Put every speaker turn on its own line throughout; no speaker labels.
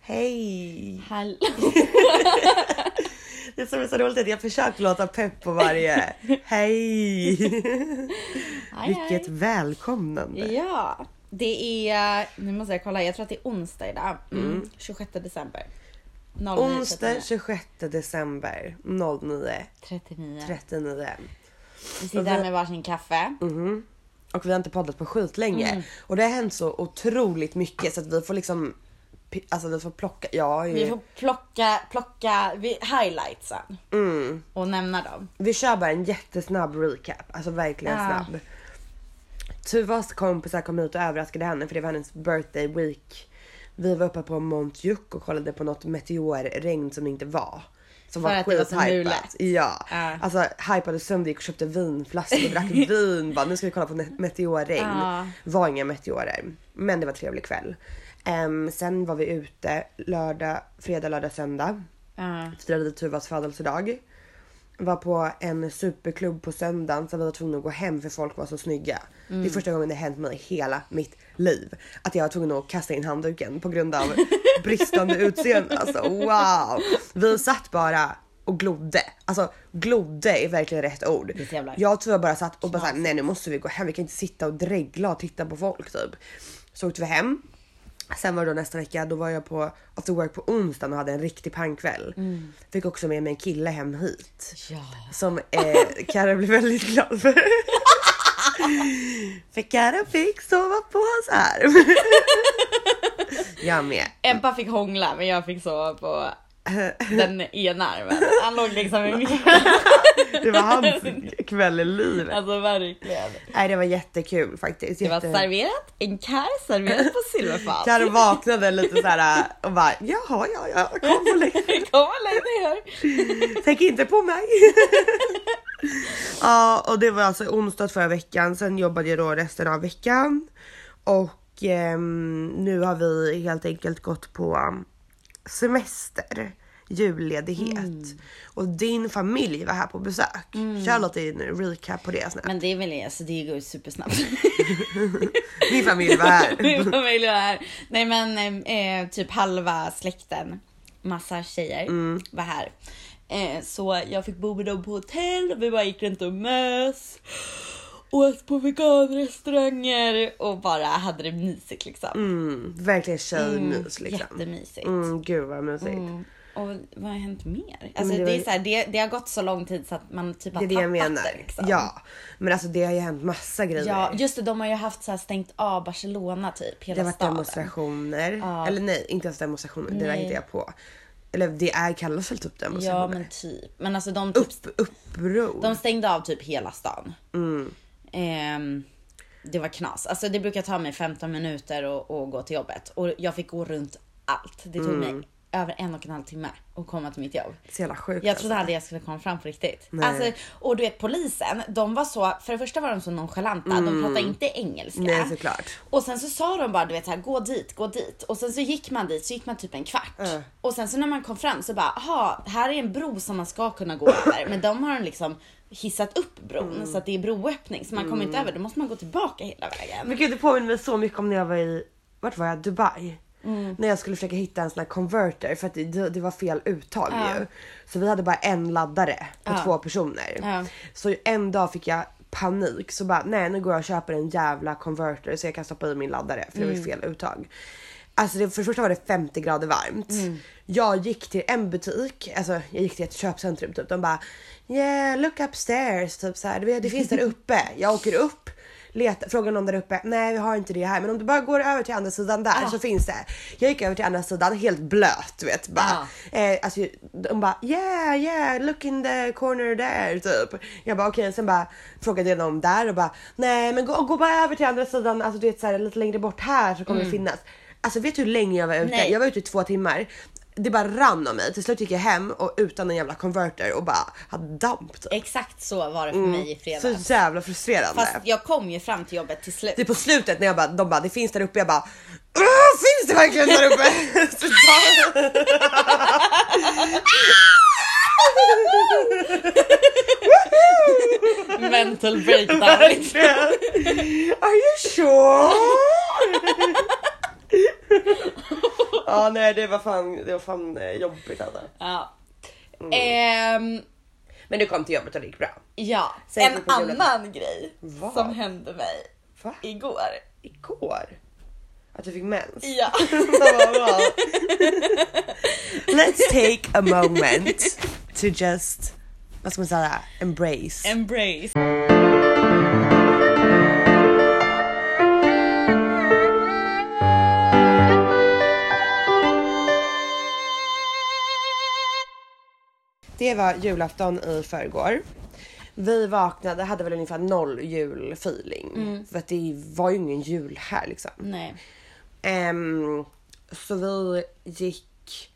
Hej!
Hallå!
Det som är så roligt är att jag försöker låta pepp på varje. Hej!
Hej,
Vilket välkomnande.
hej. Ja, det är... Nu måste jag kolla. Jag tror att det är onsdag idag. Mm. 26 december. 09,
Onsdag 26 december 09.39.
39. Vi sitter här med varsin kaffe.
Mhm. Och vi har inte poddat på skit länge. Och det har hänt så otroligt mycket så att vi får liksom pi- Alltså vi får plocka, jag har ju...
Vi får plocka, plocka vi, highlightsen
mm.
och nämna dem.
Vi kör bara en jättesnabb recap, alltså verkligen
Ja.
snabb. Tuvas kompisar kom ut och överraskade henne för det var hennes birthday week. Vi var uppe på Montjuic och kollade på något meteorregn som det inte var. Som
För
var
att det var så
skithypat.
mulet.
Ja.
Ja.
Alltså hypade sönder, gick och köpte vinflaskor och drack vin. Bara, nu ska vi kolla på ne- meteorregn.
Ja.
Var inga meteorer. Men det var trevlig kväll. Ehm, sen var vi ute lördag, fredag, lördag, söndag
Ja.
firade Tuvas födelsedag. Var på en superklubb på söndagen så vi var tvungna att gå hem för folk var så snygga.
Mm.
Det är första gången det hänt mig i hela mitt liv. Att jag var tvungen att kasta in handduken på grund av bristande utseende. Alltså wow! Vi satt bara och glodde. Alltså glodde är verkligen rätt ord.
är så jävla-
Jag och Tuva bara satt och bara såhär, nej nu måste vi gå hem. Vi kan inte sitta och dregla och titta på folk typ. Så åkte vi hem. Sen var det då nästa vecka, då var jag på after work på onsdagen och hade en riktig pangkväll.
Mm.
Fick också med mig en kille hem hit.
ja.
Som eh, Kara blev väldigt glad för. för Kara fick sova på hans arm. jag med.
Ebba fick hångla men jag fick sova på den ena armen. Han låg liksom i min...
Det var hans kväll i livet.
Alltså verkligen.
Nej det var jättekul faktiskt.
Det var
Jätte-
serverat, en karl serverat på silverfat.
Karo vaknade lite såhär och bara jaha ja ja kom och lägg
Kom och lägg dig här.
Tänk inte på mig. ja och det var alltså onsdag förra veckan. Sen jobbade jag då resten av veckan. Och ehm, nu har vi helt enkelt gått på um, semester. Julledighet. Och din familj var här på besök. Kör lite en recap på det snabbt.
Men det är väl alltså det går ju supersnabbt.
Min familj var här.
Min familj var här. Nej men eh, typ halva släkten, massa tjejer
Mm.
var här. Eh, så jag fick bo med dem på hotell och vi bara gick runt och mös. Åt på veganrestauranger och bara hade det mysigt liksom.
Mm, verkligen tjejmys liksom.
Jättemysigt.
Mm, gud vad mysigt.
Och vad har hänt mer? Alltså,
det
det,
var
är
ju-
så här, det, det har gått så lång tid så att man typ har
Det är det jag
tappat
menar.
det. Liksom.
Ja, men alltså det har ju hänt massa grejer.
Ja, just det. De har ju haft så här stängt av Barcelona typ. Hela
Det har varit
staden.
demonstrationer. Eller nej, inte ens demonstrationer. Det där
Nej.
hittade jag på. Eller det är kallas väl typ
Ja,
demonstrationer?
men typ. Men alltså de, typ,
Upp, uppror.
de stängde av typ hela stan. Ehm, det var knas. Alltså det brukar ta mig 15 minuter att att gå till jobbet och jag fick gå runt allt. Det tog mig över en och en halv timme att komma till mitt jobb.
Så jävla sjukt.
Jag trodde
alltså.
aldrig jag skulle komma fram på riktigt.
Nej.
Alltså, och du vet polisen, de var så, för det första var de så nonchalanta, de pratade inte engelska.
Mm. Nej såklart.
Och sen så sa de bara du vet så här, gå dit, gå dit. Och sen så gick man dit, så gick man typ en kvart.
Mm.
Och sen så när man kom fram så bara, aha, här är en bro som man ska kunna gå över. Men de har liksom hissat upp bron
Mm.
så att det är broöppning. Så man kommer inte över, då måste man gå tillbaka hela vägen.
Men gud det påminner mig så mycket om när jag var i, vart var jag? Dubai. När jag skulle försöka hitta en sån här converter för att det, det var fel uttag ju. Så vi hade bara en laddare på två personer.
Ja.
Så en dag fick jag panik så bara nej nu går jag och köper en jävla converter så jag kan stoppa i min laddare för det var ju fel uttag. Alltså det, för det första var det 50 grader varmt. Jag gick till en butik, alltså jag gick till ett köpcentrum typ. De bara yeah look upstairs typ så här. "Det- Det finns där uppe. Jag åker upp, letar, frågar någon där uppe. Nej vi har inte det här men om du bara går över till andra sidan där
Ah.
så finns det. Jag gick över till andra sidan helt blöt du vet. Bara,
Ja.
Eh, alltså, de bara yeah yeah look in the corner there typ. Jag bara okej sen bara frågade jag någon där och bara nej men gå, gå bara över till andra sidan alltså du vet så här, lite längre bort här så kommer det finnas. Alltså vet du hur länge jag var ute?
Mm. Nej.
Jag var ute i två timmar. Det bara rann om mig. Till slut gick jag hem och utan en jävla converter och bara hade damp typ.
Exakt så var det för mig i fredags.
Mm. Så jävla frustrerande.
Fast jag kom ju fram till jobbet till slut.
Det är Typ på slutet när jag bara, de bara det finns där uppe, jag bara "Åh, finns det verkligen där uppe? Så tar-
Mental breakdown. liksom.
Are you sure? Ja Ja nej det var fan, det var fan eh, jobbigt alltså.
Ja. Ehm,
Men du kom till jobbet och det gick bra.
ja.
Säg
en
till problemet.
annan grej
Vad?
som hände mig
Va?
igår.
Igår? Att du fick mens?
Ja.
Vad bra. Let's take a moment to just, vad ska man säga, embrace.
Embrace.
Det var julafton i förrgår. Vi vaknade, hade väl ungefär noll julfeeling. För att det var ju ingen jul här liksom.
Nej.
Ehm, så vi gick,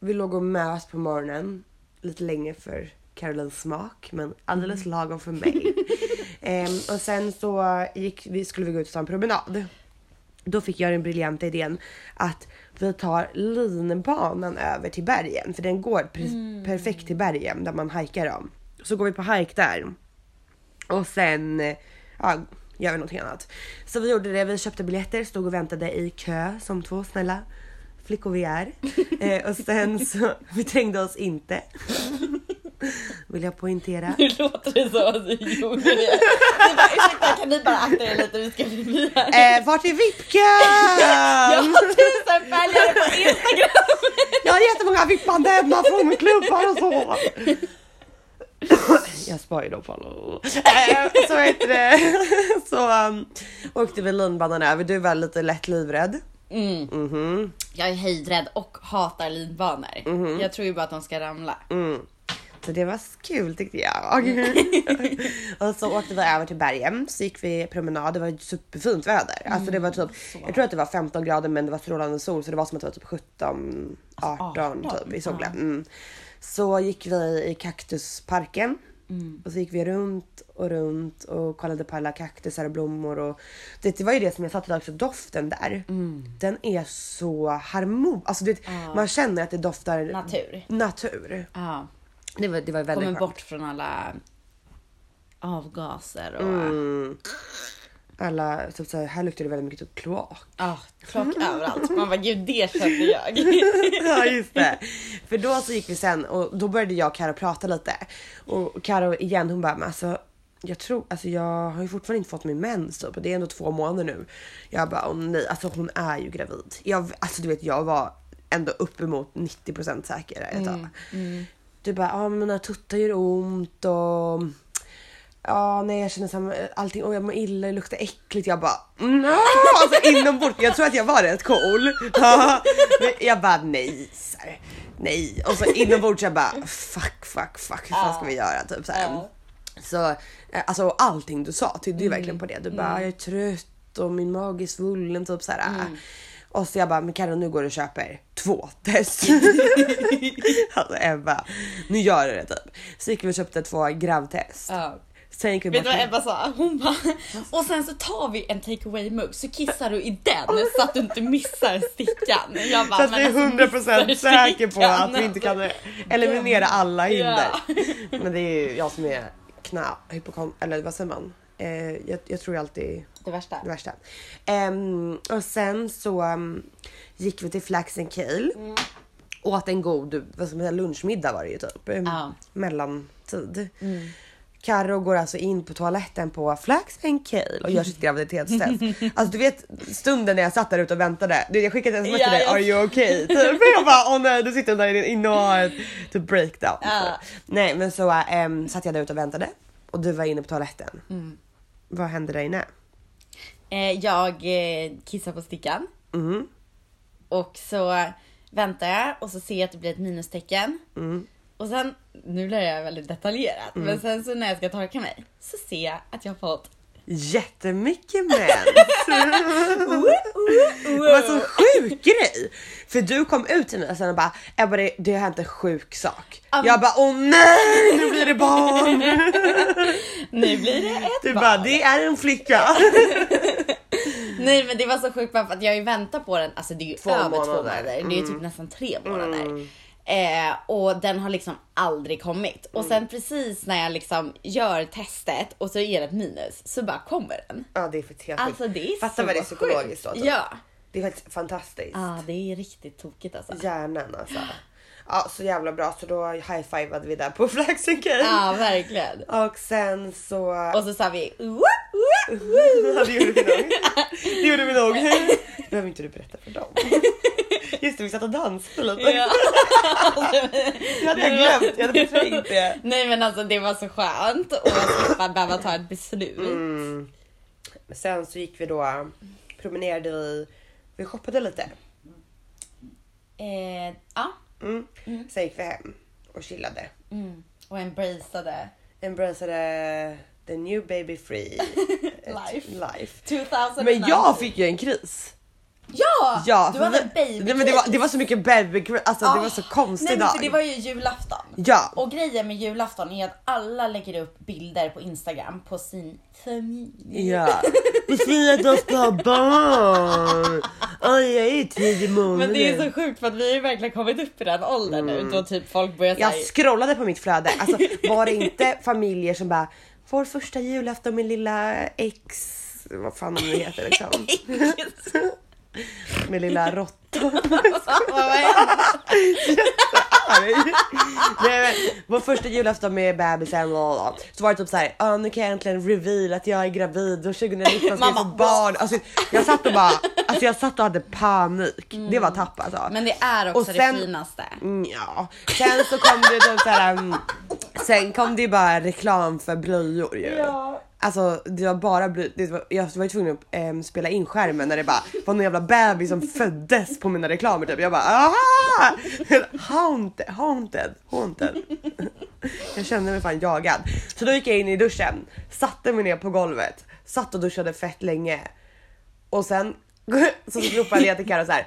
vi låg och mös på morgonen. Lite länge för Carolines smak men alldeles lagom för mig. Ehm, och sen så gick, vi, skulle vi gå ut och ta en promenad. Då fick jag den briljanta idén att vi tar linbanan över till bergen för den går pre- perfekt till bergen där man hajkar om. Så går vi på hajk där. Och sen eh, ja, gör vi någonting annat. Så vi gjorde det, vi köpte biljetter, stod och väntade i kö som två snälla flickor vi är. Eh, och sen så, vi trängde oss inte. Vill jag poängtera.
Nu låter det som att vi gjorde det. Vi bara ursäkta kan ni bara akta er lite vi ska förbi här.
Eh, vart är
Jag
VIP-kön?
har tusen följare på Instagram.
Jag har jättemånga vippande hemma från klubbar och så. Jag sparar ju då på alla. Eh, Så heter det. Så um, åkte vi linbanan över. Du var lite lätt livrädd.
Mm. Jag är höjdrädd och hatar linbanor. Jag tror ju bara att de ska ramla.
Så det var kul tyckte jag. och så åkte vi över till bergen, så gick vi promenad. Det var superfint väder. Alltså det var typ, jag tror att det var 15 grader men det var strålande sol så det var som att det var typ 17, 18 typ i solen. Mm. Så gick vi i kaktusparken. Och så gick vi runt och runt och kollade på alla kaktusar och blommor. Och det, det var ju det som jag satte också, doften där. Den är så harmonisk. Alltså, du vet, Man känner att det doftar
Natur.
natur.
Ja.
Det var, det var väldigt
Kommer
skönt.
bort från alla avgaser och...
alla, typ så här, här luktar det väldigt mycket typ kloak.
Ah, klock överallt. Man bara gud det kände jag.
ja just det. För då så gick vi sen och då började jag och Karo prata lite. Och Karo igen hon bara men alltså jag tror, alltså jag har ju fortfarande inte fått min mens typ. Och Det är ändå två månader nu. Jag bara åh nej, alltså hon är ju gravid. Jag, alltså du vet jag var ändå uppemot 90% säker ett
Mm,
tag. Du bara ja men mina tuttar gör ont och Ja, nej jag känner som allting, och jag mår illa, det luktar äckligt. Jag bara no! Alltså inombords, jag tror att jag var rätt cool. Ja, men jag bara nej, så här, nej. Och så inombords jag bara fuck, fuck, fuck, hur fan ska vi göra? Typ så här.
Ja. Mm.
Så eh, alltså och allting du sa tydde ju verkligen på det. Du bara jag är trött och min mage är svullen typ så här.
Mm.
Och så jag bara, men Karin nu går du och köper två test. alltså Ebba, nu gör du det typ. Så gick vi och köpte två gravtest.
Ja.
Sen gick vi
Vet du
bort-
vad Ebba sa? Hon bara och sen så tar vi en takeaway mugg så kissar du i den så att du inte missar stickan. Jag bara,
Så att
"Men
vi är
alltså,
100
missar
säker på
stickan,
att vi inte kan
alltså."
eliminera alla hinder.
Ja.
Men det är ju jag som är knä, hypokon, eller vad säger man? Eh, jag, jag tror ju alltid
Det värsta.
det värsta. Ehm, och sen så ehm, gick vi till Flax and Kale.
Mm.
Åt en god vad ska man säga, lunchmiddag var det ju typ.
Ja. Mm.
Mellantid. Karo går alltså in på toaletten på Flax and Kale och gör sitt graviditetstest. Alltså du vet stunden när jag satt där ute och väntade. Du, jag skickade ett sms till
Ja,
dig,
jag-
are you okay? Typ. Jag bara, åh nej du sitter där inne- inne och har ett typ breakdown.
Ja.
Nej men så um, satt jag där ute och väntade och du var inne på toaletten.
Mm.
Vad hände där inne?
Eh, jag eh, kissar på stickan.
Mm.
Och så väntar jag och så ser jag att det blir ett minustecken.
Mm.
Och sen, nu blir jag väldigt detaljerat, men sen så när jag ska torka mig så ser jag att jag har fått
Jättemycket mens! Det var en sån alltså, sjuk grej! För du kom ut till mig och sen och bara Ebba det, det har hänt en sjuk sak.
Ja, men-
Jag bara åh nej nu blir det barn!
Nu blir det ett
Du
barn.
bara det är en flicka.
Nej men det var så sjukt bara för att jag har ju väntat på den, alltså det är ju över två
månader. Mm.
månader. Det är ju typ nästan tre månader. Eh, och den har liksom aldrig kommit.
Mm.
Och sen precis när jag liksom gör testet och så är det ett minus så bara kommer den.
Ja det är faktiskt helt
Alltså det är
Fatta
så
vad det är psykologiskt då.
sjukt.
typ.
Ja.
Det är faktiskt fantastiskt.
Ah, det är riktigt tokigt alltså.
Hjärnan alltså. Ja, så jävla bra. Så då high-fivade vi där på Flaxen Cave.
Ja, verkligen.
Och sen så...
Och så sa vi "Woop, woop, woop."
Ja, det gjorde vi nog. Det gjorde vi nog. Det behöver inte du berätta för dem. Just det, vi satt och dansade lite.
Ja.
Det hade jag glömt. Jag hade förträngt det.
Nej men alltså det var så skönt och att slippa behöva ta ett beslut.
Sen så gick vi då, promenerade vi, vi shoppade lite.
Eh, ja.
Mm. Sen gick vi hem och chillade.
Mm. Och embraceade
Embraceade the new baby free eh,
Life. Alltså,
life.
2019.
Men jag fick ju en kris.
Ja!
Ja,
du
för
hade
vi-
en baby Ah.
Nej, men det, var, det var så mycket baby alltså det var så konstig
Nej, men
dag.
för det var ju julafton.
Ja.
Och grejen med julafton är att alla lägger upp bilder på Instagram på sin familj.
Ja. Vi säger att jag ska ha barn. Oj, jag är tio månader.
Men det är så sjukt för att vi har ju verkligen kommit upp i den åldern nu då typ folk börjar
Mm. Jag
säga
scrollade på mitt flöde. Alltså var det inte familjer som bara vår första julafton med lilla ex, vad fan hon nu heter liksom. Med lilla råttan. Arg. Nej, men, vår första julafton med bebisen och och- och. så var det typ så här. Ah, nu kan jag äntligen reveal att jag är gravid och 2019 ska jag få
Mamma.
barn. Alltså, jag satt och bara, alltså jag satt och hade panik. Det var tapp alltså.
Mm. Men det är också
Och sen-
det finaste.
Mm, Ja, sen så kom det typ såhär, mm, sen kom det ju bara reklam för blöjor ju.
Ja.
Alltså det var bara blöjor, det var, jag var ju tvungen att ehm, spela in skärmen när det bara var någon jävla bebis som föddes på mina reklamer typ. Jag bara aha! Haunted, haunted, haunted. Jag kände mig fan jagad. Så då gick jag in i duschen, satte mig ner på golvet, satt och duschade fett länge. Och sen så ropade jag till Carro så här.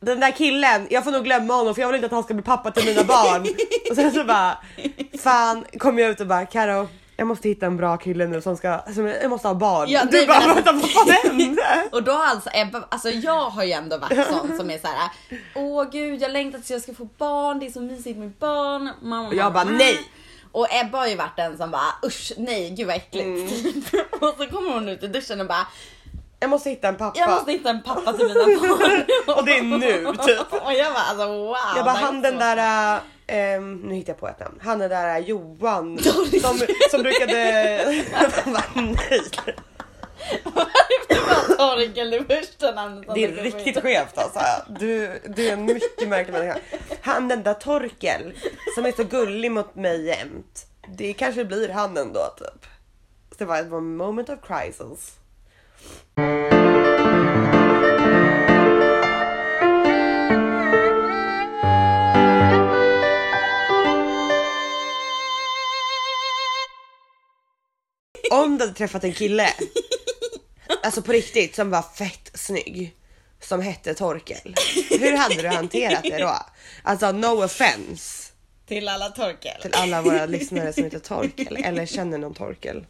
Den där killen, jag får nog glömma honom för jag vill inte att han ska bli pappa till mina barn. Och sen så bara, fan kom jag ut och bara Carro jag måste hitta en bra kille nu som ska, som jag måste ha barn.
Ja,
du
nej,
bara
men
vänta vad fan hände?
Och då har alltså Ebba, alltså jag har ju ändå varit sån som är så här. åh gud jag längtar tills jag ska få barn, det är så mysigt med barn. Mamma, mamma,
jag bara,
mamma."
"Nej."
Och Ebba har ju varit den som bara usch nej gud vad äckligt.
Mm.
och så kommer hon ut i duschen och bara
Jag måste hitta en pappa.
jag måste hitta en pappa till mina barn.
Och det är nu, typ.
och jag bara alltså wow.
Jag bara
det är
han den
så-
där, eh, ehm, nu hittar jag på ett namn, han den där eh, Johan
Doris.
som, som brukade... Jag bara, nej.
Varför var Torkel det första namnet som
Det är
dök upp?
riktigt skevt alltså. Du, du är en mycket märklig människa. Han den där Torkel som är så gullig mot mig jämt. Det kanske blir han ändå typ. Så det var ett moment of crisis. Om du hade träffat en kille, alltså på riktigt, som var fett snygg, som hette Torkel. Hur hade du hanterat det då? Alltså no offense
Till alla Torkel.
till alla våra lyssnare som heter Torkel eller känner någon Torkel.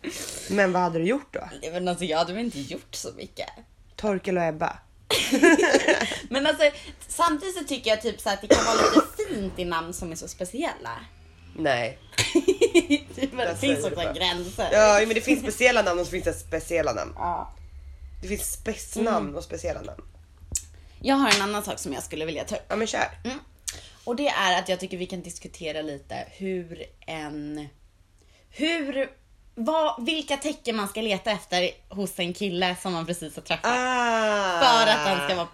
Men vad hade du gjort då?
Nej, Men alltså jag hade väl inte gjort så mycket.
Torkel och Ebba?
Men alltså samtidigt så tycker jag typ så att det kan vara lite fint i namn som är så speciella.
Nej.
Typ, men det
Jag
finns
säger
också
det bara.
gränser.
Ja, men det finns speciella namn och så finns det speciella namn.
Ja.
Det finns spetsnamn och speciella namn.
Jag har en annan sak som jag skulle vilja ta upp.
Ja, men kör.
Mm. Och det är att jag tycker vi kan diskutera lite hur en... Hur... Vad, vilka tecken man ska leta efter hos en kille som man precis har träffat.
Ah.
För att den ska vara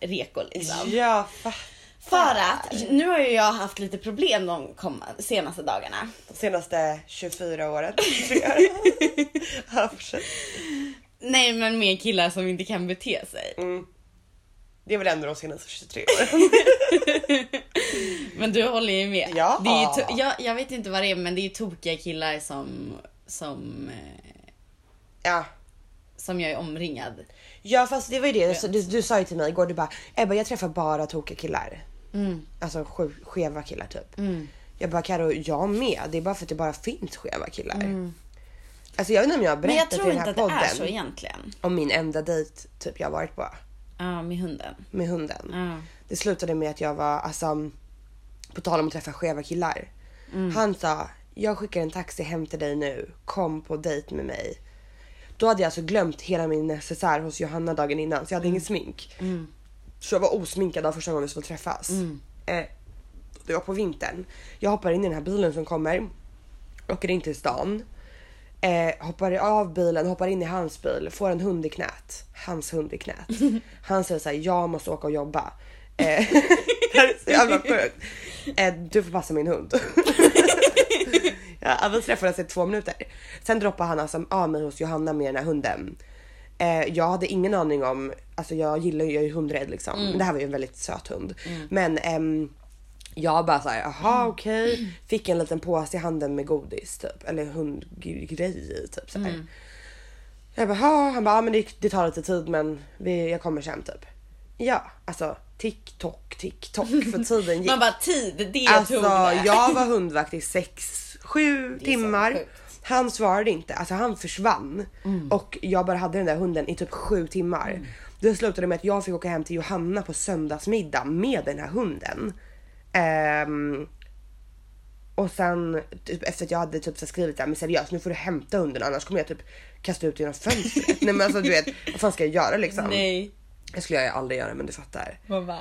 reko liksom.
Ja, fa-
För att nu har ju jag haft lite problem de komma, senaste dagarna.
de senaste 24 året. Ja, fortsätt.
Nej men med killar som inte kan bete sig.
det är väl ändå de senaste 23 åren.
Men du håller ju med.
Ja.
Det är ju to- jag, jag vet inte vad det är men det är ju tokiga killar som, som, eh,
Ja.
som jag är omringad.
ja, fast det var ju det Så du, du sa ju till mig igår. Du bara Ebba, jag träffar bara tokiga killar.
Mm.
Alltså sju, skeva killar typ. Jag bara Karo, jag med. Det är bara för att det bara finns skeva killar. Alltså jag vet inte om jag har
Mm. Men jag
berättat i
tror
den
inte
här
att det är så
podden
egentligen.
om min enda dejt typ jag har varit på.
Ja, med hunden.
med hunden.
Ja.
Det slutade med att jag var, alltså, på tal om att träffa skeva killar. Han sa, jag skickar en taxi hem till dig nu, kom på dejt med mig. Då hade jag alltså glömt hela min necessär hos Johanna dagen innan så jag hade inget smink. Så jag var osminkad av första gången vi skulle träffas. Eh, det var på vintern. Jag hoppar in i den här bilen som kommer. Åker in till stan. Eh, hoppar av bilen, hoppar in i hans bil, får en hund i knät. Hans hund i knät. Han säger såhär, jag måste åka och jobba. Eh, det här är så jävla sjukt. Eh, du får passa min hund. ja, vi träffades i två minuter. Sen droppade han alltså av mig hos Johanna med den här hunden. Eh, jag hade ingen aning om, alltså jag gillar ju, jag är ju hundrädd liksom. Men det här var ju en väldigt söt hund. Men ehm, jag bara såhär, jaha okej. Fick en liten påse i handen med godis typ. Eller hundgrej i typ såhär. Jag bara, "Ha." han bara, ja men det, det tar lite tid men vi, jag kommer sen typ. Ja, alltså tick tock, tick tock för tiden gick.
Man bara tid, det
Alltså
tog det.
jag var hundvakt i sex, sju timmar.
sjukt. Mm.
Han svarade inte, alltså han försvann. Och jag bara hade den där hunden i typ sju timmar. Det slutade med att jag fick åka hem till Johanna på söndagsmiddag med den här hunden. Ehm, och sen typ, efter att jag hade typ så här skrivit det här, men seriöst nu får du hämta hunden annars kommer jag typ kasta ut genom fönstret. Nej men alltså du vet, vad fan ska jag göra liksom?
Nej,
Det skulle jag ju aldrig göra men du fattar.
man bara...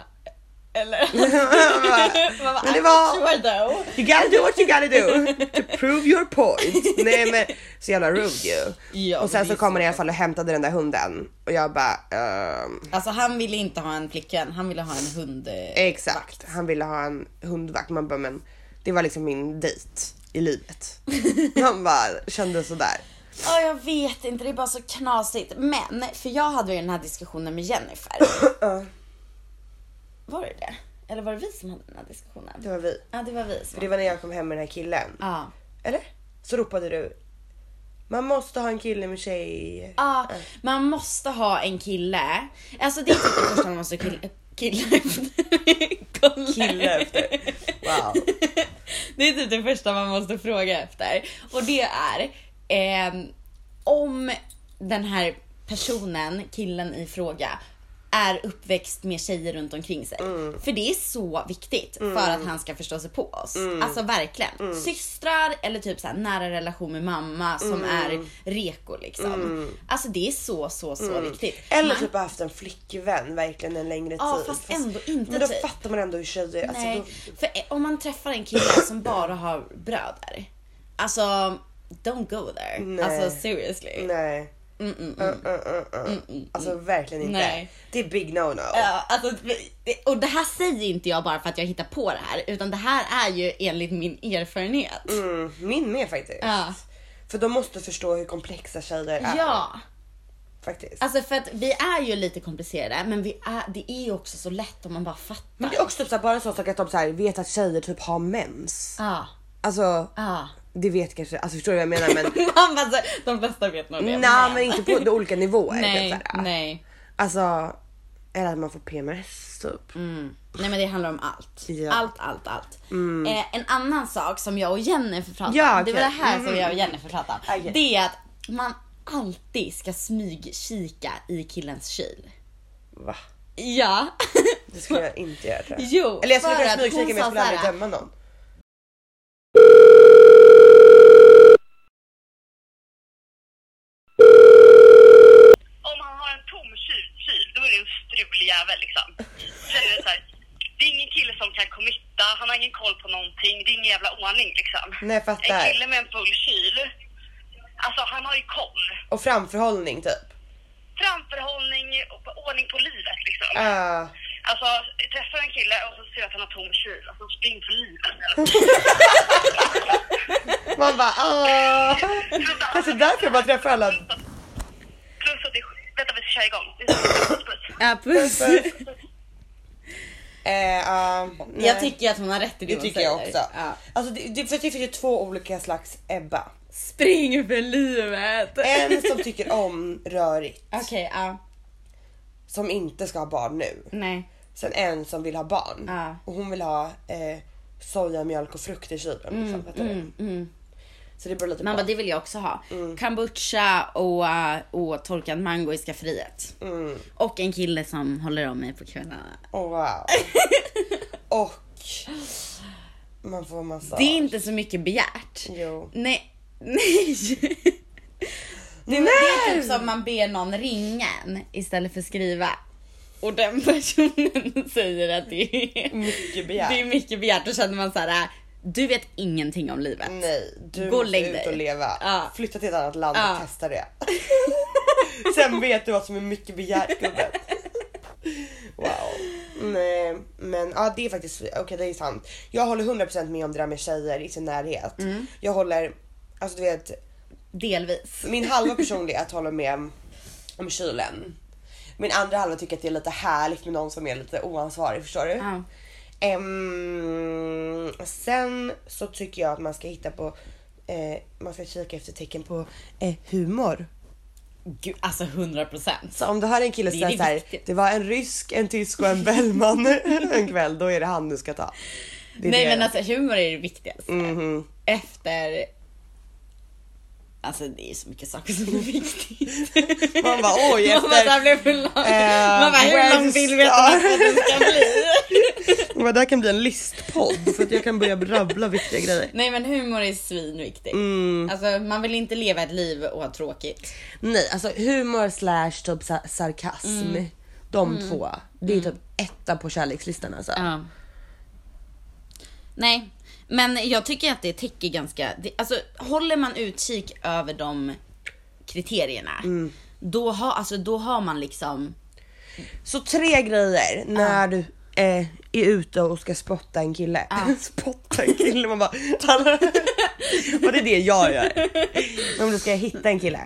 Eller? man bara,
Men det
I'm
var-
not sure though.
You gotta do what you gotta do to prove your point. Nej men så jävla rude ju.
Ja,
och
men
sen
det
så
är
kom han i
så.
alla fall och hämtade den där hunden och jag bara ehm,
Alltså han ville inte ha en flickvän, han ville ha en hund. eh,
exakt. Han ville ha en hundvakt. Man bara men det var liksom min dejt i livet. Han bara kände sådär.
Ja, jag vet inte. Det är bara så knasigt. Men, för jag hade ju den här diskussionen med Jennifer. Var det det? Eller var det vi som hade den här diskussionen?
Det var vi.
Ja, det var vi som
För det var när jag kom hem med den här killen.
Ja.
Eller? Så ropade du. Man måste ha en kille med tjej.
Ja, man måste ha en kille. Alltså det är typ det första man måste kille, kille efter.
Kille efter. Wow.
Det är typ det första man måste fråga efter. Och det är eh, om den här personen, killen i fråga, är uppväxt med tjejer runt omkring sig. För det är så viktigt för att han ska förstå sig på oss. Alltså verkligen. Systrar eller typ så här nära relation med mamma som är reko liksom. Alltså det är så, så, så viktigt.
Eller
Man-
typ haft en flickvän verkligen en längre
Ja,
tid.
fast ändå inte
Men då
typ.
fattar man ändå hur tjejer... Alltså,
Nej,
då,
för e- om man träffar en kille som bara har bröder. Alltså, don't go there.
Nej.
Alltså seriously.
nej. Mm, mm, mm, mm. Alltså verkligen inte.
Nej.
Det är big no no.
Ja, alltså, och det här säger inte jag bara för att jag hittar på det här, utan det här är ju enligt min erfarenhet.
Mm, min med faktiskt.
Ja.
För de måste förstå hur komplexa tjejer är.
Ja,
Faktiskt.
alltså för att vi är ju lite komplicerade, men vi är, det är ju också så lätt om man bara fattar.
Men det är också typ såhär, bara en sån sak att de såhär, vet att tjejer typ har mens.
Ja,
Alltså,
ja.
det vet kanske... Alltså förstår du vad jag menar? Men,
Man bara, så- de flesta vet nog det.
nej men inte på de olika nivåer.
nej,
typ såhär.
nej.
Alltså, eller att man får PMS typ.
Mm. Nej men det handlar om allt.
Ja. Mm.
Allt, allt, allt. Eh, en annan sak som jag och Jennifer pratade
Ja,
om, det var
okej.
det här som
Mhm.
jag och Jennifer pratade om.
Okej.
Det är att man alltid ska smygkika i killens kyl.
Va?
Ja.
Det skulle jag inte göra tror jag.
jo,
Eller jag skulle
för
kunna
att hon
smygkika men jag
sa
skulle
så här,
aldrig döma någon.
om han har en tom kyl, kyl då är det en strulig jävel liksom. Sen är det så här, det är ingen kille som kan committa, han har ingen koll på någonting, det är ingen jävla ordning liksom.
Nej, jag fattar.
En kille med en full kyl, alltså han har ju koll.
Och framförhållning typ.
Framförhållning och ordning på livet liksom.
Ah.
Alltså, jag träffar en kille och så ser jag att han har tom kyl, alltså spring för livet.
Man bara ah. Kanske därför jag bara träffar alla.
Plus att det är sj- Vänta vi ska köra igång. Det är så- puss, puss.
Ja, puss.
Eh, ah, nej.
Jag tycker att hon har rätt i det,
det
hon
tycker jag
säger.
också.
Ja.
Alltså, det, det, för det finns ju två olika slags Ebba.
Spring för livet.
En som tycker om rörigt,
Okej, ja.
som inte ska ha barn nu.
Nej.
Sen en som vill ha barn
Ja.
och hon vill ha eh, sojamjölk och frukt i kylen. liksom, fattar du? Så det beror lite
Mm, Man
på.
bara, det vill jag också ha.
Mm.
Kombucha och, äh, och torkad mango i skafferiet.
Mm.
Och en kille som håller om mig på kvällarna.
Oh, wow. och man får massa.
Det är inte så mycket begärt.
Jo.
Nej. Nej. Det, det är typ som man ber någon ringa en istället för skriva. Och den personen säger att det är
Mycket begärt.
Det är mycket begärt. Då känner man så här. "Äh, Du vet ingenting om livet.
Nej, du
Gå och
måste
lägg
ut
dig.
och leva.
Ja.
Flytta till ett annat land
Ja.
och testa det. Sen vet du vad som är mycket begärt gubben. Wow. Nej men ja det är faktiskt, okej det är sant. Jag håller 100% med om det där med tjejer i sin närhet.
Mm.
Jag håller, alltså du vet
Delvis.
min halva personlighet håller med om kylen. Min andra halva tycker att det är lite härligt med någon som är lite oansvarig förstår du?
Ja.
Ehm, sen så tycker jag att man ska hitta på, eh, man ska kika efter tecken på eh, humor.
Gud, alltså 100 procent.
Så om du hör en kille
Det är
säga
det
såhär,
viktiga.
det var en rysk, en tysk och en bellman en kväll, då är det han du ska ta. Det är
Nej
det.
men alltså humor är det viktigaste.
Mhm.
Efter... Alltså det är så mycket saker som är viktigt.
Man bara, oj,
Man
efter-
bara,
eh,
så här blev för lång. Man bara
where
hur lång
to
vill vi att
start?
avsnittet ska bli?
Men Det här kan bli en listpodd för att jag kan börja rabbla viktiga grejer.
Nej men humor är svinviktigt.
Mm.
Alltså man vill inte leva ett liv och ha tråkigt.
Nej, alltså humor slash typ sa- sarkasm. De två. Det är typ etta på kärlekslistan alltså.
Ja. Nej, men jag tycker att det täcker ganska... Det, alltså, håller man utkik över de kriterierna,
Mm.
då, ha, alltså, då har man liksom...
Så tre grejer när du eh, är ute och ska spotta en kille. spotta en kille, man bara... och det är det jag gör. Men Om du ska hitta en kille.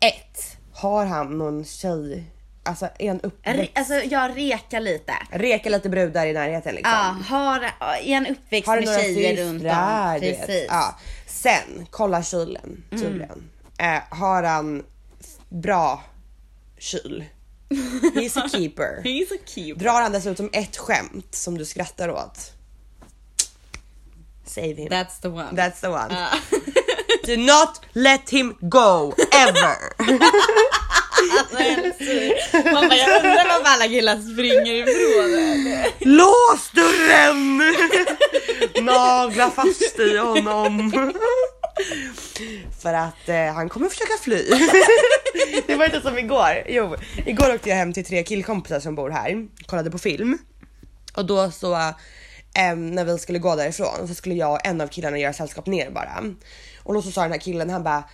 Ett.
Har han någon tjej, alltså är han
Re,
uppväxt?
alltså, jag rekar lite.
Reka lite brudar i närheten liksom.
Ja, har, är en uppväxt
Har du
med
några
tjejer runt om.
systrar? du vet?
Precis.
Ja. Sen, kolla kylen tydligen. Eh, har han f- bra kyl? He's a keeper.
He's a cute.
Drar han dessutom ett skämt som du skrattar åt? Save him.
That's the one.
That's the one.
Ja.
Do not let him go ever.
alltså, jag är sur. Man bara, jag undrar varför alla killar springer ifrån en.
Lås dörren! Nagla fast i honom. För att eh, han kommer försöka fly. det var inte som igår. Jo, igår åkte jag hem till tre killkompisar som bor här. Kollade på film. Och då så eh, när vi skulle gå därifrån så skulle jag och en av killarna göra sällskap ner bara. Och då så sa den här killen han bara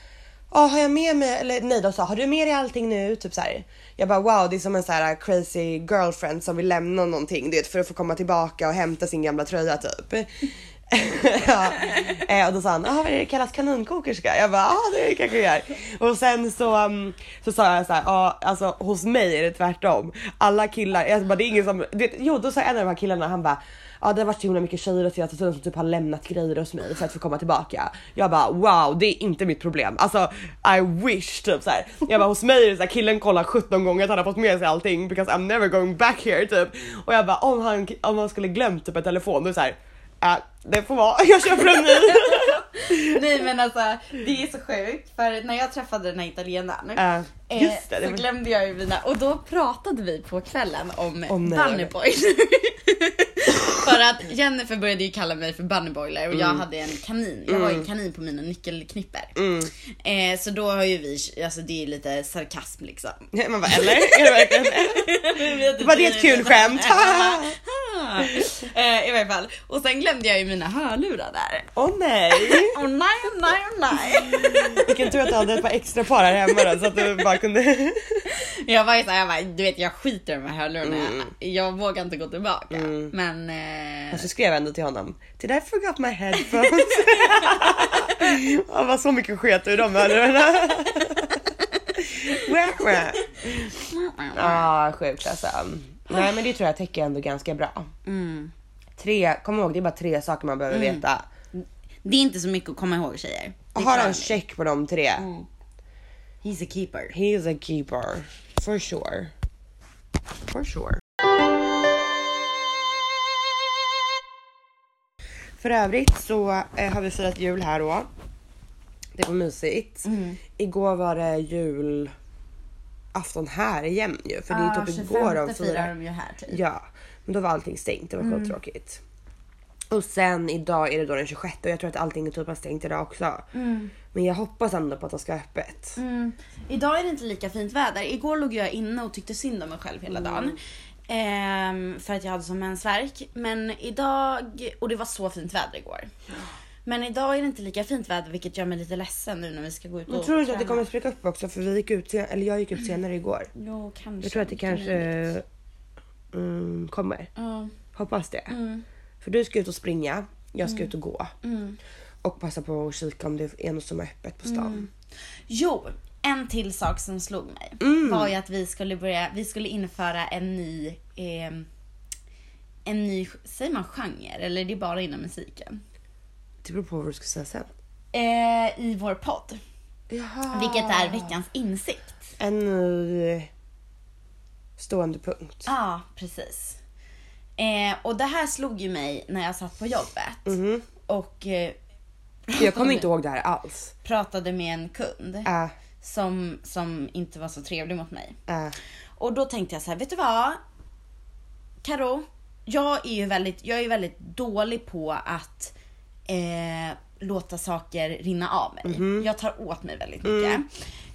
Ja, har jag med mig, eller nej de sa har du med dig allting nu? Typ så här. Jag bara wow det är som en så här crazy girlfriend som vill lämna någonting du vet för att få komma tillbaka och hämta sin gamla tröja typ. ja. eh, och då sa han, ah, vad är det kallas kaninkokerska? Jag bara, ja ah, det kanske jag gör. Och sen så, um, så sa jag så här, ah, alltså hos mig är det tvärtom. Alla killar, jag bara, det är ingen som, du vet, jo då sa en av de här killarna, han bara, ja ah, det har varit så himla mycket tjejer och senaste tiden som typ har lämnat grejer hos mig för att få komma tillbaka. Jag bara wow det är inte mitt problem. Alltså I wish typ såhär. Jag bara hos mig är det såhär killen kollar 17 gånger att han har fått med sig allting because I'm never going back here typ. Och jag bara om han, om han skulle glömt typ en telefon då är det såhär Ja, Äh, det får vara. Jag köper en ny.
Nej men alltså det är så sjukt för när jag träffade den här italienaren
Ja,
eh,
just det, det
så
var-
glömde jag ju mina och då pratade vi på kvällen om
Om när var det?
bunnyboy. för att Jennifer började ju kalla mig för bunnyboiler och
Mm.
jag hade en kanin. Jag har ju en kanin på mina nyckelknipper. Eh, så då har ju vi, alltså det är ju lite sarkasm liksom.
Man bara eller? Är det verkligen?
Det
var det ett kul skämt.
eh, I varje fall. Och sen glömde jag ju mina hörlurar där.
Åh nej!
Åh nej, åh nej, åh nej.
Vilken tur att du hade ett par extra par här hemma då, så att du bara kunde.
Jag var ju såhär, jag bara, du vet jag skiter i de här hörlurarna.
Mm.
Jag vågar inte gå tillbaka. Men... Eh,
Så skrev jag ändå till honom. Did I forgot my headphones? Han var så mycket sket ur de hörlurarna. Wah, wah. Ja, sjukt alltså. Nej, men det tror jag täcker ändå ganska bra.
mm.
Tre, kom ihåg det är bara tre saker man behöver veta.
Det är inte så mycket att komma ihåg tjejer. Det
Har
klarar
han
ni. Mm.
check på de tre?
He's a keeper.
He is a keeper. For sure. For sure. För övrigt så eh, har vi firat jul här då. Det var mysigt.
Mm.
Igår var det julafton här igen ju. För det
Ah,
är typ igår de firar.
ju här typ.
Ja, men då var allting stängt. Det var skittråkigt. Och sen idag är det då den 26 och jag tror att allting är typ har stängt idag också. Men jag hoppas ändå på att det ska vara öppet.
Mm. Idag är det inte lika fint väder. Igår låg jag inne och tyckte synd om mig själv hela
Mm.
dagen. Ehm, för att jag hade sån mensvärk. Men idag, och det var så fint väder igår. Men idag är det inte lika fint väder vilket gör mig lite ledsen nu när vi ska gå ut och
Men tror du inte att det
träna.
kommer spricka upp också? För vi gick ut, sen- eller jag gick ut senare igår.
Jo, kanske.
Jag tror att det kanske mm, kommer.
Ja.
Hoppas det. För du ska ut och springa, jag ska ut och gå. Och passa på att kika om det är något som är öppet på stan.
Jo, en till sak som slog mig var ju att vi skulle börja, vi skulle införa en ny, eh, en ny, säger man genre eller är det bara inom musiken?
Det beror på vad du ska säga sen.
Eh, I vår podd,
Jaha.
vilket är veckans insikt.
En ny stående punkt.
Ja, ah, precis. Eh, och det här slog ju mig när jag satt på jobbet och eh,
Jag kommer inte ihåg det här alls.
pratade med en kund
Äh,
som, som inte var så trevlig mot mig.
äh.
Och då tänkte jag så här, vet du vad? Karo, jag är ju väldigt, jag är väldigt dålig på att eh, låta saker rinna av mig. Jag tar åt mig väldigt mycket.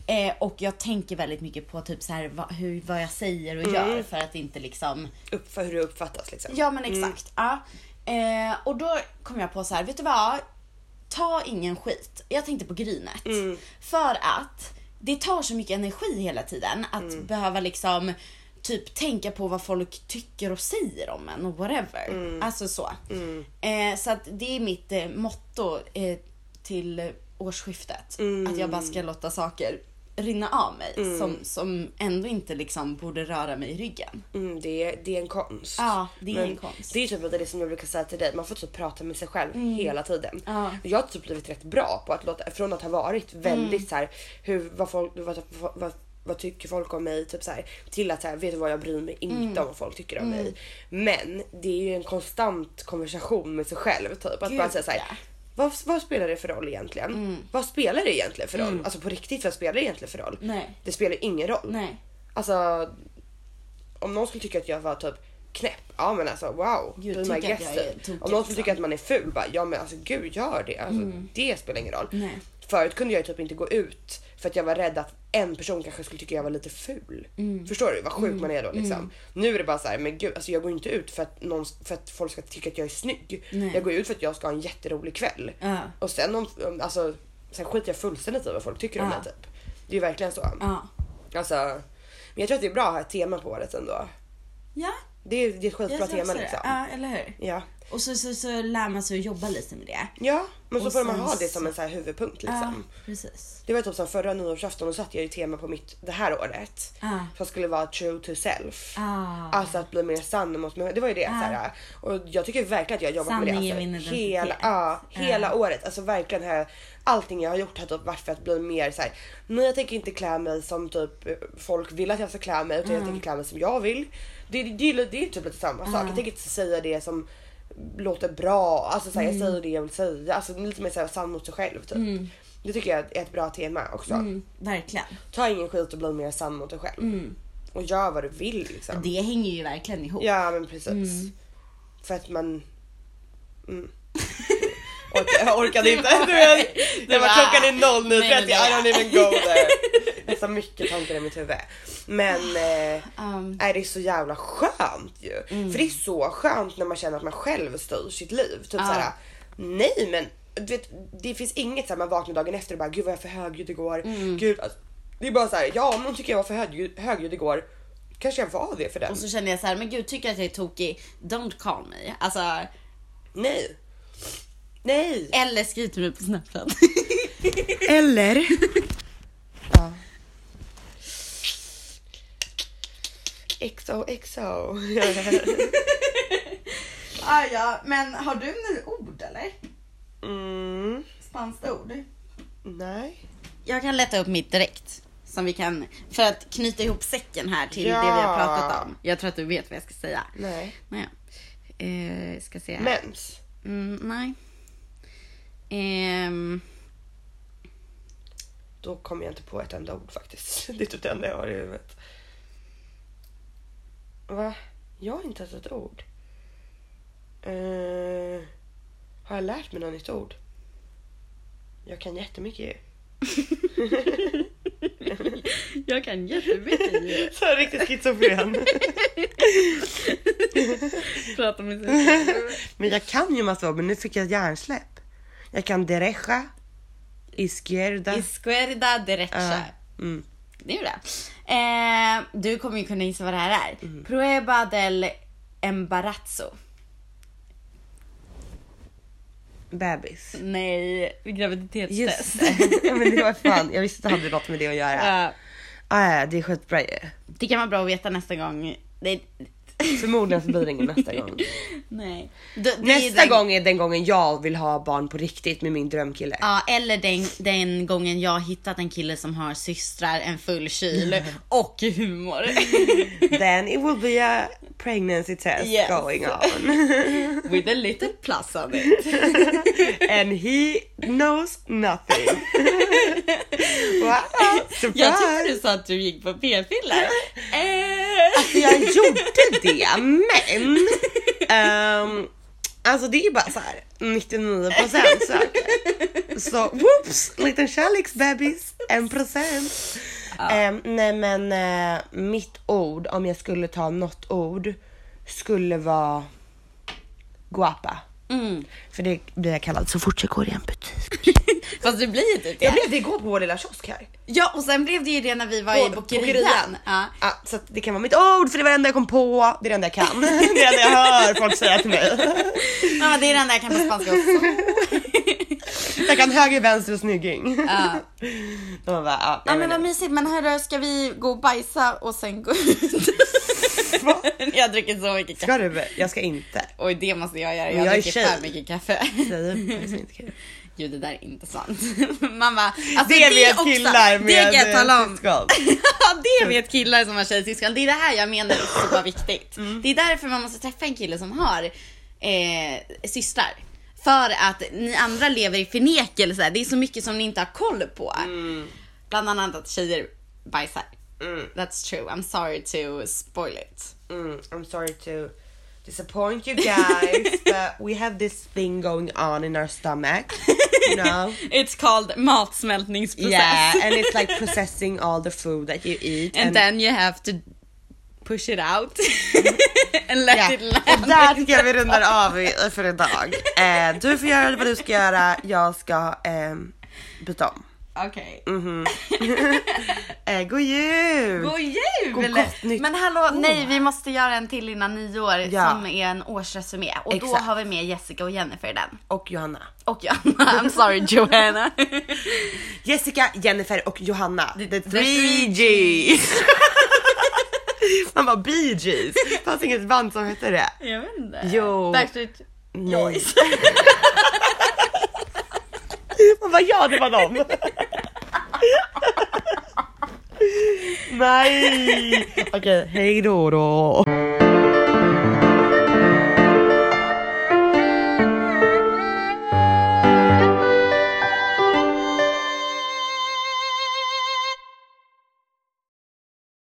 Eh, och jag tänker väldigt mycket på typ så här, vad, hur, vad jag säger och gör för att inte liksom...
Upp för hur det uppfattas liksom.
Ja men exakt. Ja. Eh, och då kom jag på så här, vet du vad? Ta ingen skit. Jag tänkte på grynet. För att det tar så mycket energi hela tiden att behöva liksom typ tänka på vad folk tycker och säger om en och whatever. Alltså så. Eh, så att det är mitt eh, motto eh, till årsskiftet. Att jag bara ska låta saker rinna av mig som, som ändå inte liksom borde röra mig i ryggen.
Mm, det, är, det är en konst.
Ja, det är en konst. Mm.
Det är typ det som jag brukar säga till dig, man får typ prata med sig själv hela tiden.
Ja.
Och Jag har typ blivit rätt bra på att låta, från att ha varit väldigt
Mm.
så här, hur, vad, folk, vad, vad, vad tycker folk om mig? Typ så här, till att så här, vet du vad jag bryr mig inte
Mm.
om vad folk tycker om mig. Men det är ju en konstant konversation med sig själv. Typ, att
Gud,
bara säga så här,
ja. Mm.
vad, vad spelar det för roll egentligen? Vad spelar det egentligen för roll? Alltså på riktigt, vad spelar det egentligen för roll?
Nej.
Det spelar ingen roll.
Nej.
Alltså om någon skulle tycka att jag var typ knäpp, ja men alltså wow.
Gud,
be my
tycker att jag är
guest, typ.
tokig,
Om någon
liksom.
skulle tycka att man är ful, bara, ja men alltså gud gör det. Alltså, Det spelar ingen roll.
Mm. Nej.
Förut kunde jag ju typ inte gå ut för att jag var rädd att en person kanske skulle tycka jag var lite ful.
Mm.
Förstår du vad sjuk man är då liksom. Nu är det bara så här, men gud alltså jag går inte ut för att, någon, för att folk ska tycka att jag är snygg.
Nej.
Jag går ut för att jag ska ha en jätterolig kväll.
Ja.
Och sen, om, om- alltså, sen skiter jag fullständigt i vad folk tycker om
Ja.
mig typ. Det är ju verkligen så.
Ja.
Alltså, men jag tror att det är bra att ha ett tema på året ändå.
Ja,
Det är, det är ett
jag
skitbra
tror
tema
också
liksom.
det. Ja, eller hur?
Ja.
Och så, så, så lär man sig att jobba lite med det.
ja, men så
Och
får man
sen
ha det
så-
som en så här huvudpunkt
Ja,
liksom.
precis.
Det var typ som förra nyårsafton, då satte jag ju tema på mitt det här året.
Ja.
Som skulle vara true to self.
Ah.
Alltså att bli mer sann mot mig. Det var ju det. Så här, och jag tycker verkligen att jag har jobbat med
Sanning
det.
är min
Alltså,
identitet. Ah.
hela ja, hela året. Alltså verkligen här, allting jag har gjort har typ varit för att bli mer så här. Nej jag tänker inte klä mig som typ folk vill att jag ska klä mig utan
Ah.
jag tänker klä mig som jag vill. Det, det, det, är- det är typ lite samma sak. Jag tänker inte säga det som låter bra. Alltså så här,
Mm.
jag säger det jag vill säga. Alltså lite mer så här, sann mot sig själv typ. Det tycker jag är ett bra tema också.
Mm, verkligen.
Ta ingen skit och bli mer sann mot dig själv. Och gör vad du vill liksom.
Det hänger ju verkligen ihop. Mm.
Ja men precis. För att man... Mm. Orka, jag orkade inte. Du, jag, det var
bara,
klockan är 09.30,
nej, men det-
I don't even go there. Det är så mycket tankar i mitt huvud. Men eh,
Um. Mm.
nej, det är så jävla skönt ju. För det är så skönt när man känner att man själv styr sitt liv. Typ
Ah.
såhär, nej men du vet, det finns inget såhär man vaknar dagen efter och bara gud vad jag är för högljudd igår.
Mm.
Gud, alltså, det är bara såhär, ja om någon tycker jag var för högljudd, högljudd igår kanske jag var det för den.
Och så känner jag så här, men gud tycker jag att jag är tokig, don't call me. Alltså,
Nej. Nej.
eller skriv till mig på snapchat.
Eller. ja. XOXO.
ah, ja, men har du ord eller?
mm.
Spanska ord?
Nej.
Jag kan leta upp mitt direkt. Som vi kan, för att knyta ihop säcken här till
Ja.
det vi har pratat om. Jag tror att du vet vad jag ska säga.
Nej.
Naja. Eh, ska se här.
Mens.
Mm, nej. Ehm,
Då kommer jag inte på ett enda ord faktiskt. Det är typ det enda jag har i huvudet. Va? Jag har inte ens ett ord. Eh, Har jag lärt mig något nytt ord? Jag kan jättemycket ju.
Jag kan jättemycket ju.
Så här riktigt schizofren.
Prata med sig.
men jag kan ju massa ord men nu fick jag hjärnsläpp. Jag kan derecha, izquierda.
Isquerda derecha.
Ja, mm.
Det är bra. Eh, du kommer ju kunna gissa vad det här är.
Mm.
Prueba del embarazzo.
Bebis.
Nej, graviditetstest.
Just det. Ja, men det var fan. Jag visste att det hade något med det att göra.
Ja,
Ah, ja, det är skitbra ju.
det kan vara bra att veta nästa gång. Det,
Förmodligen så blir det ingen nästa gång.
nej. Du- det är
Nästa
den-
gång är den gången jag vill ha barn på riktigt med min drömkille.
Ja, eller den, den gången jag har hittat en kille som har systrar, en full kyl och humor.
Then it will be a pregnancy test
Yes.
going on.
With a little plus of it.
And he knows nothing. wow,
Jag tyckte
surprise!
du sa att du gick på p-piller. Eh.
Jag gjorde det, men... ehm, alltså det är bara så här 99% söker. Så whoops, liten kärleksbebis, 1%. Ehm, nej men eh, mitt ord, om jag skulle ta något ord, skulle vara guapa.
Mm.
För det blir jag kallad så fort jag går i en butik.
Fast du blir ju typ
Jag
det.
blev det igår på vår lilla kiosk här.
Ja och sen blev det ju det när vi var i
På-
bokerian. Ja.
Ja, så att det kan vara mitt ord för det var det enda jag kom på. Det är det enda jag kan. Det är det enda jag hör folk säga till mig.
Mamma det är den där jag kan på spanska också.
Jag kan höger, vänster och snygging.
Ja.
De bara, ja, jag
Ja men
menar.
vad mysigt men hörru ska vi gå och bajsa och sen gå ut?
Va?
jag dricker så mycket kaffe.
Ska du? Jag ska inte.
Oj det måste jag göra,
Men
jag,
jag är
dricker
tjej.
för mycket kaffe.
Säger det som inte kul.
Jo det där är inte sant. Mamma, alltså
Det vet
också-
killar med eh,
Det kan jag tala om.
syskon.
Ja, det vet killar som har tjejsyskon. Det är det här jag menar är så bara viktigt.
Mm.
Det är därför man måste träffa en kille som har eh, systrar. För att ni andra lever i förnekelse. Det är så mycket som ni inte har koll på. Bland annat att tjejer bajsar.
Mm.
That's true. I'm sorry to spoil it.
Mm, I'm sorry to disappoint you guys but we have this thing going on in our stomach. You know?
It's called matsmältningsprocess.
Yeah, and it's like processing all the food that you eat.
And then you have to push it out. and let
Ja,
it land.
och där tycker jag vi rundar av i- för idag. Eh, du får göra vad du ska göra, jag ska ehm, byta om.
Okej.
Mm-hmm. Eh, god jul!
God jul!
God gott nytt
Men hallå, nej vi måste göra en till innan nyår
Ja.
som är en årsresumé. Och då
Exakt.
har vi med Jessica och Jennifer i den.
Och Johanna.
Och Johanna, I'm sorry Johanna.
Jessica, Jennifer och Johanna. The,
the
three
three
Gs. Man bara Bee Gees. Det fanns inget band som hette det.
Jag vet inte.
Jo.
Backstreet
Nej.
Boys.
Man bara ja det var dem. Nej. Okej, hej då då.